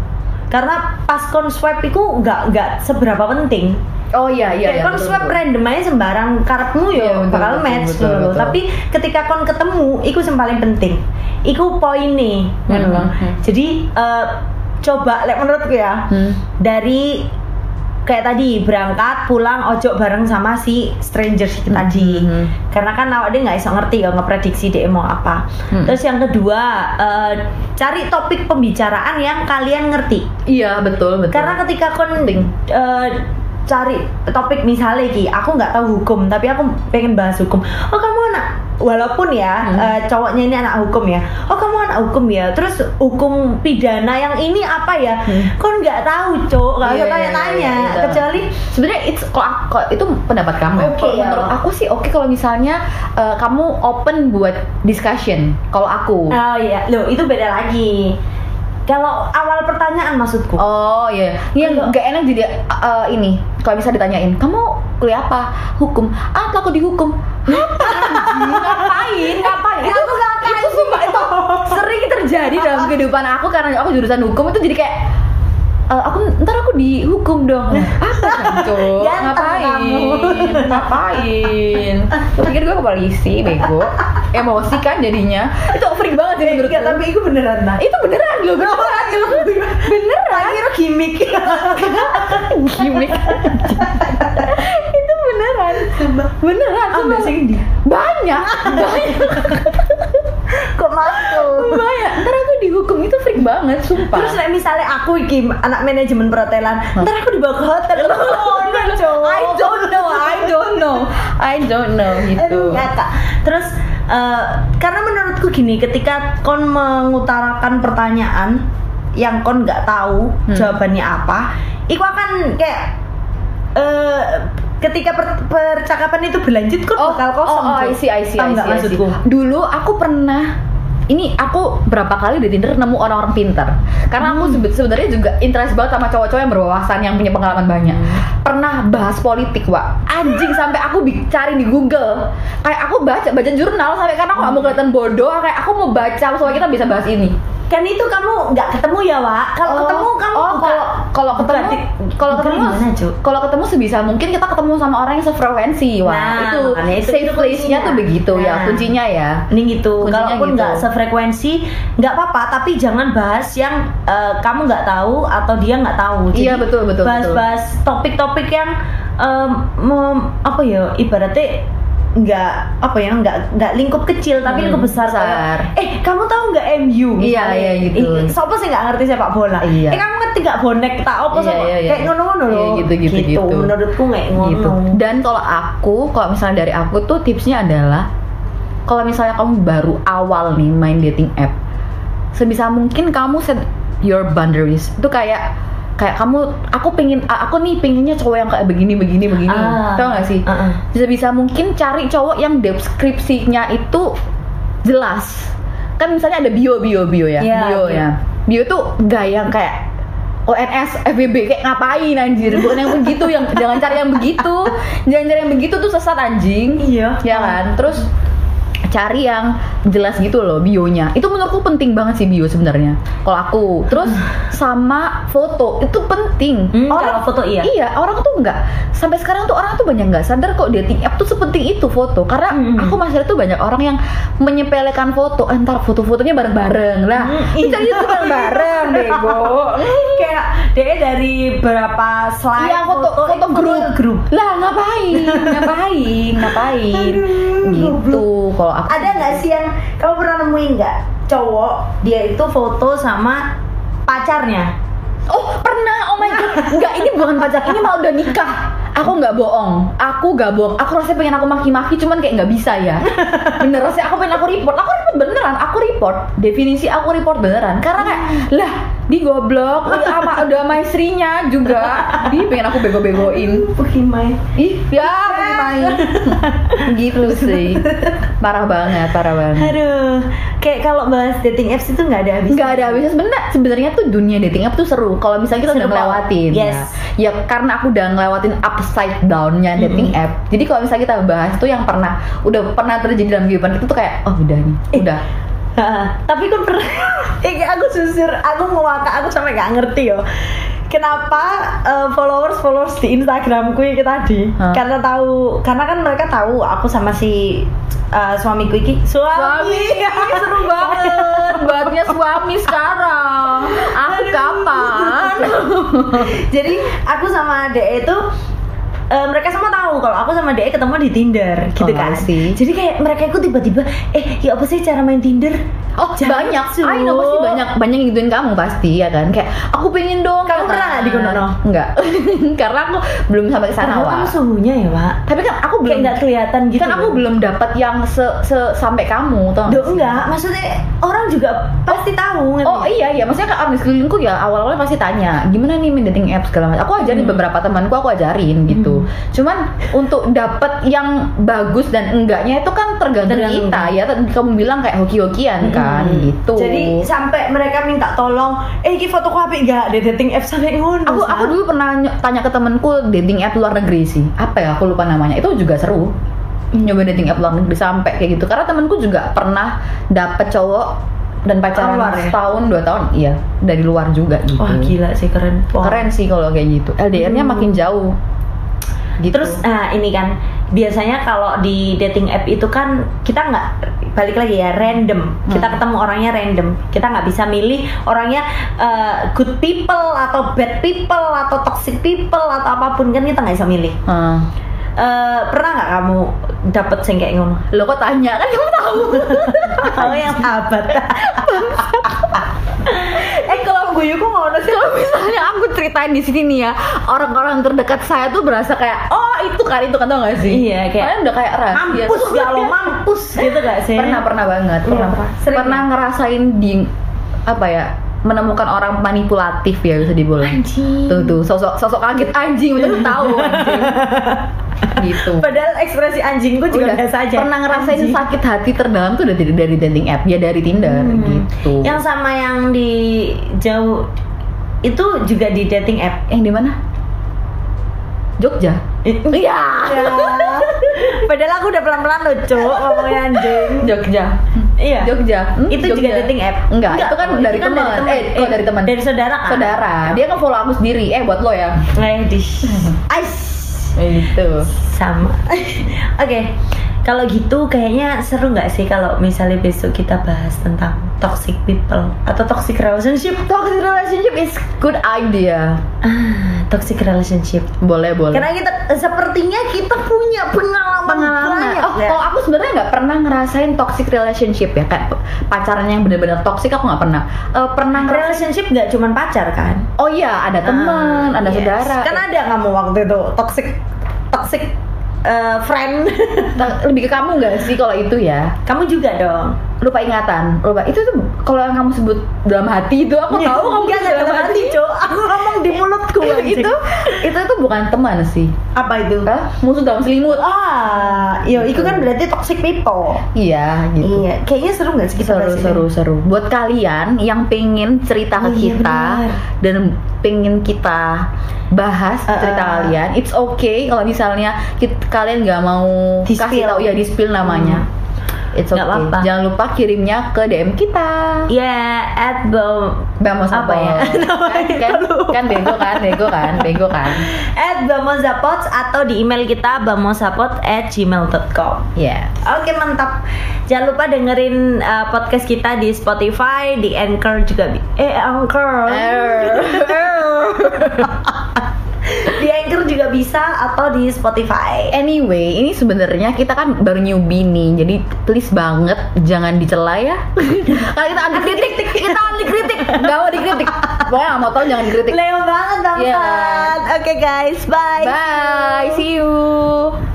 A: Karena pas kon swipe itu nggak nggak seberapa penting.
B: Oh iya
A: Kayak
B: iya. iya,
A: kon
B: betul,
A: swipe
B: betul.
A: random aja sembarang karepmu yo
B: Iya, betul,
A: bakal
B: betul,
A: match
B: betul,
A: dulu.
B: betul.
A: Tapi ketika kon ketemu, iku yang paling penting. Iku poinnya, ngono loh.
B: hmm.
A: Jadi eh, coba, lek menurutku ya,
B: Hmm.
A: dari kayak tadi berangkat pulang ojo bareng sama si stranger si tadi
B: Mhm.
A: karena kan awak dia nggak bisa ngerti ya ngeprediksi dia mau apa
B: Mhm.
A: terus yang kedua eh, cari topik pembicaraan yang kalian ngerti
B: Iya betul betul.
A: karena ketika kon eh, cari topik misalnya ki aku nggak tahu hukum tapi aku pengen bahas hukum oh kamu anak walaupun ya
B: Hmm.
A: eh, cowoknya ini anak hukum ya oh kamu anak hukum ya terus hukum pidana yang ini apa ya
B: Hmm.
A: kon nggak tahu cok nggak
B: Iya,
A: usah tanya
B: iya,
A: tanya
B: iya, iya.
A: kecuali
B: sebenarnya it's kalau aku- kalau itu pendapat kamu ya.
A: Oke,
B: Kalau
A: ya.
B: menurut aku sih oke kalau misalnya eh, kamu open buat discussion kalau aku
A: oh iya loh itu beda lagi kalau awal pertanyaan maksudku
B: oh iya yang
A: Kalau-
B: nggak enak jadi eh, ini kalau bisa ditanyain kamu kuliah apa hukum ah aku dihukum apa anjing? ngapain ngapain itu itu sumpah itu sering terjadi dalam kehidupan aku karena aku jurusan hukum itu jadi kayak eh, aku ntar aku dihukum dong Nah, apa Sanco?
A: Ganteng
B: ngapain
A: kamu.
B: ngapain lu pikir gue ke polisi bego emosi kan jadinya itu freak banget sih menurut
A: Nggak,
B: gue.
A: tapi itu beneran nah
B: Eh, itu beneran loh gue
A: beneran kira gimmick
B: gimmick itu beneran
A: Sumpah.
B: beneran
A: ah
B: sumpah.
A: biasanya dia
B: banyak banyak
A: kok masuk
B: banyak ntar aku dihukum itu freak banget sumpah
A: Terus like, misalnya aku iki anak manajemen perhotelan, ntar aku dibawa ke hotel. Oh, no, Cok.
B: I don't know I don't know I don't know
A: Aduh,
B: gitu
A: nggak, Kak. Terus eh, karena menurutku gini, ketika kon mengutarakan pertanyaan yang kon nggak tahu
B: Hmm.
A: jawabannya apa, iku akan kayak eh, ketika per- percakapan itu berlanjut kon bakal kosong.
B: Oh, oh,
A: Cok.
B: I see, I see,
A: Tahu
B: I see,
A: nggak
B: I see.
A: maksudku?
B: Dulu aku pernah ini aku berapa kali di Tinder nemu orang-orang pinter karena aku sebe- sebenarnya juga interest banget sama cowok-cowok yang berwawasan yang punya pengalaman banyak pernah bahas politik wa anjing sampai aku bi- cari di Google kayak aku baca baca jurnal sampai karena aku gak mau kelihatan bodoh kayak aku mau baca supaya kita bisa bahas ini
A: Kan itu kamu nggak ketemu ya, Wak? Kalau
B: Oh,
A: ketemu kamu
B: oh,
A: buka-
B: kalau kalau
A: buka
B: ketemu
A: di-
B: kalau
A: buka
B: ketemu
A: gimana, Cuk?
B: kalau ketemu sebisa mungkin kita ketemu sama orang yang sefrekuensi wah
A: Nah,
B: itu
A: makanya itu-
B: safe
A: itu
B: place-nya
A: kuncinya.
B: tuh begitu ya
A: Nah.
B: kuncinya ya
A: Mending gitu.
B: Kuncinya
A: Kalaupun
B: gitu.
A: nggak sefrekuensi, nggak apa-apa. Tapi jangan bahas yang eh, kamu nggak tahu atau dia nggak tahu.
B: Iya, betul, betul,
A: Bahas-bahas topik-topik yang em, mem- apa ya? Ibaratnya nggak apa ya? Nggak nggak lingkup kecil tapi
B: Hmm,
A: lingkup besar.
B: besar.
A: Kayak, eh kamu tahu nggak MU?
B: Iya,
A: Misalnya.
B: iya, gitu.
A: Ih, Siapa sih nggak ngerti sepak bola?
B: Iya.
A: Eh kamu ngerti nggak bonek tak apa
B: Iya,
A: sama
B: iya, iya.
A: kayak ngono-ngono
B: Iya,
A: loh.
B: gitu, gitu, gitu.
A: Menurutku nggak ngono.
B: gitu. Dan kalau aku, kalau misalnya dari aku tuh tipsnya adalah kalau misalnya kamu baru awal nih main dating app, sebisa mungkin kamu set your boundaries. Itu kayak kayak kamu aku pengen aku nih pengennya cowok yang kayak begini begini begini.
A: Ah.
B: Tau gak sih?
A: Heeh.
B: sebisa mungkin cari cowok yang deskripsinya itu jelas kan misalnya ada bio bio bio ya
A: Iya,
B: bio
A: bio.
B: ya bio tuh gak yang kayak ONS, FBB kayak ngapain anjir bukan yang begitu yang jangan cari yang begitu jangan cari yang begitu tuh sesat anjing
A: Iya.
B: ya kan terus cari yang jelas gitu loh bionya itu menurutku penting banget sih bio sebenarnya kalau aku terus sama foto itu penting
A: Hmm, kalau foto iya.
B: orang tuh nggak sampai sekarang tuh orang tuh banyak nggak sadar kok dating app tuh sepenting itu foto karena
A: Hmm.
B: aku masih lihat tuh banyak orang yang menyepelekan foto entar foto-fotonya bareng-bareng lah
A: Hmm,
B: itu jadi tuh bareng-bareng bego
A: kayak dia dari berapa slide
B: Iya foto foto, grup
A: grup
B: Lah ngapain? ngapain? Ngapain?
A: Aduh,
B: gitu kalau aku
A: ada nggak sih yang kamu pernah nemuin nggak cowok dia itu foto sama pacarnya
B: Oh pernah, oh my god Enggak, ini bukan pacar, ini malah udah nikah Aku nggak bohong, aku nggak bohong Aku rasanya pengen aku maki-maki, cuman kayak nggak bisa ya Bener, rasanya aku pengen aku report Aku report beneran, aku report Definisi aku report beneran Karena kayak, lah di goblok udah sama, udah sama istrinya juga Di pengen aku bego-begoin
A: Pokimai
B: Ih, ya main Gitu sih Parah banget, parah banget
A: aduh kayak kalau bahas dating apps itu nggak ada habisnya
B: nggak ada habisnya sebenarnya sebenarnya tuh dunia dating app tuh seru kalau misalnya kita
A: Seru
B: udah
A: banget.
B: ngelewatin
A: Yes.
B: ya. ya karena aku udah ngelewatin upside downnya dating app jadi kalau misalnya kita bahas tuh yang pernah udah pernah terjadi dalam kehidupan kita tuh kayak oh udah nih
A: Eh.
B: udah
A: Ha, tapi kan pernah Eh, aku susur aku ngewaka aku sampai nggak ngerti yo kenapa eh, followers followers di Instagramku iki tadi
B: Hah?
A: karena tahu karena kan mereka tahu aku sama si eh, suamiku iki suami,
B: seru banget buatnya suami sekarang aku kapan
A: jadi aku sama DE itu eh, mereka semua tahu kalau aku sama DE ketemu di Tinder gitu
B: Oh,
A: kan
B: I see.
A: jadi kayak mereka itu tiba-tiba eh ya apa sih cara main Tinder
B: Oh
A: Jangan,
B: banyak,
A: Su.
B: I know pasti banyak banyak yang gituin kamu pasti ya kan kayak aku pengen dong
A: Kamu pernah nggak digonono?
B: Enggak, karena aku belum sampai ke sana
A: Padahal
B: Wak.
A: kamu suhunya ya Pak
B: Tapi kan aku
A: kayak
B: belum
A: nggak kelihatan gitu
B: kan aku
A: loh.
B: belum dapat yang se, se- sampai kamu
A: Duh,
B: tau nggak sih?
A: enggak, maksudnya orang juga pasti tahu ngerti?
B: Oh iya iya, maksudnya kan orang di sekelilingku ya awal-awalnya pasti tanya gimana nih main dating apps segala macam. Aku ajarin
A: Hmm.
B: beberapa temanku aku ajarin gitu. Cuman untuk dapat yang bagus dan enggaknya itu kan tergantung
A: Tergantung.
B: kita ya. Tadi Kamu bilang kayak hoki-hokian kan
A: Mm-mm.
B: gitu.
A: Jadi sampai mereka minta tolong, "Eh, iki foto ku apik gak?" di dating apps sampai ngono.
B: aku
A: Sa.
B: aku dulu pernah ny- tanya ke temanku dating app luar negeri sih. Apa ya aku lupa namanya. Itu juga seru nyoba dating app luar negeri sampai kayak gitu. Karena temanku juga pernah dapet cowok dan pacaran
A: Luar ya?
B: setahun dua tahun iya dari luar juga gitu.
A: Wah, gila sih keren. Wah.
B: keren sih kalau kayak gitu LDR-nya
A: Hmm.
B: makin jauh gitu.
A: Terus nah ini kan biasanya kalau di dating app itu kan kita nggak balik lagi ya random. Kita
B: Hmm.
A: ketemu orangnya random. Kita nggak bisa milih orangnya eh, good people atau bad people atau toxic people atau apapun kan kita nggak bisa milih.
B: Hmm.
A: Eh, pernah nggak kamu dapet sing kayak ngono?
B: lo kok tanya kan kamu tahu
A: Kamu yang sahabat. eh kalau gue kok ngono sih.
B: kalau misalnya aku ceritain di sini nih ya orang-orang terdekat saya tuh berasa kayak oh itu kali itu kan tau gak sih
A: Iya, kayak,
B: Kalian udah kayak ya." rahasia
A: Mampus gak lo mampus gitu gak sih?
B: pernah pernah banget
A: Iya,
B: pernah
A: sering
B: pernah ngerasain di apa ya menemukan orang manipulatif ya bisa dibilang
A: Anjing. Iya.
B: tuh tuh sosok sosok kaget anjing udah tahu anjing gitu
A: Padahal ekspresi anjingku juga
B: Udah,
A: biasa aja.
B: pernah ngerasain
A: Anjing.
B: sakit hati terdalam tuh dari dari dating app ya dari Tinder
A: Hmm.
B: gitu
A: Yang sama yang di jauh itu juga di dating app.
B: yang di mana Jogja iya
A: Ya. Padahal aku udah pelan-pelan loh, Cuk, ngomongnya anjing.
B: Jogja
A: Iya.
B: Jogja Hmm,
A: Itu juga
B: Jogja.
A: dating app.
B: enggak, itu kan
A: oh,
B: dari teman eh kok dari teman
A: Dari saudara. kan?
B: saudara dia kan follow aku sendiri eh buat lo ya Gitu.
A: Eh, di. Ais.
B: itu
A: sama oke kalau gitu kayaknya seru nggak sih kalau misalnya besok kita bahas tentang toxic people atau toxic relationship
B: toxic relationship is good idea
A: ah toxic relationship
B: boleh boleh
A: karena kita sepertinya kita punya pengalaman,
B: pengalaman
A: banyak
B: oh
A: ya.
B: kalau aku sebenarnya nggak pernah ngerasain toxic relationship ya kayak pacaran yang benar-benar toxic aku nggak pernah Eh, pernah ngerasain
A: relationship nggak cuman pacar kan
B: oh iya ada teman
A: Ah,
B: ada
A: yes.
B: saudara
A: kan ada kamu waktu itu toxic toxic eh, friend
B: Te- lebih ke kamu nggak sih kalau itu ya
A: kamu juga dong
B: lupa ingatan lupa itu tuh kalau yang kamu sebut dalam hati itu aku
A: Iya.
B: tahu Oh, kamu
A: nggak
B: sebut
A: dalam hati cok aku ngomong di mulutku
B: Iya,
A: anjing.
B: itu itu tuh bukan teman sih
A: apa itu
B: gitu? Hah? Gitu. musuh dalam selimut
A: ah yo itu kan berarti toxic people
B: iya gitu
A: Iya, kayaknya seru nggak sih kita
B: seru
A: bahas ini?
B: seru seru buat kalian yang pengen cerita
A: Oh,
B: ke
A: iya,
B: kita
A: benar.
B: dan pengen kita bahas
A: Uh,
B: cerita
A: uh.
B: kalian it's okay kalau misalnya kit- kalian nggak mau
A: Di-spill.
B: kasih tahu ya di spill namanya It's okay.
A: Hmm. Nggak apa-apa.
B: Jangan lupa kirimnya ke DM kita.
A: ya at bom
B: Bamos
A: Apa ya?
B: Kan, kan, kan bego kan, bego kan, bego kan.
A: at bamosapods atau di email kita bamosapod at gmail.com
B: Ya.
A: Oke mantap. Jangan lupa dengerin uh, podcast kita di Spotify, di Anchor juga. bi- Eh Anchor. di Anchor juga bisa atau di Spotify.
B: Anyway, ini sebenarnya kita kan baru newbie nih, jadi please banget jangan dicela ya. Karena kita anti kritik, kita anti kritik, nggak mau dikritik. Pokoknya nggak mau tahu jangan dikritik.
A: Leo banget bangsat.
B: Iya.
A: Oke guys, bye.
B: Bye, see you.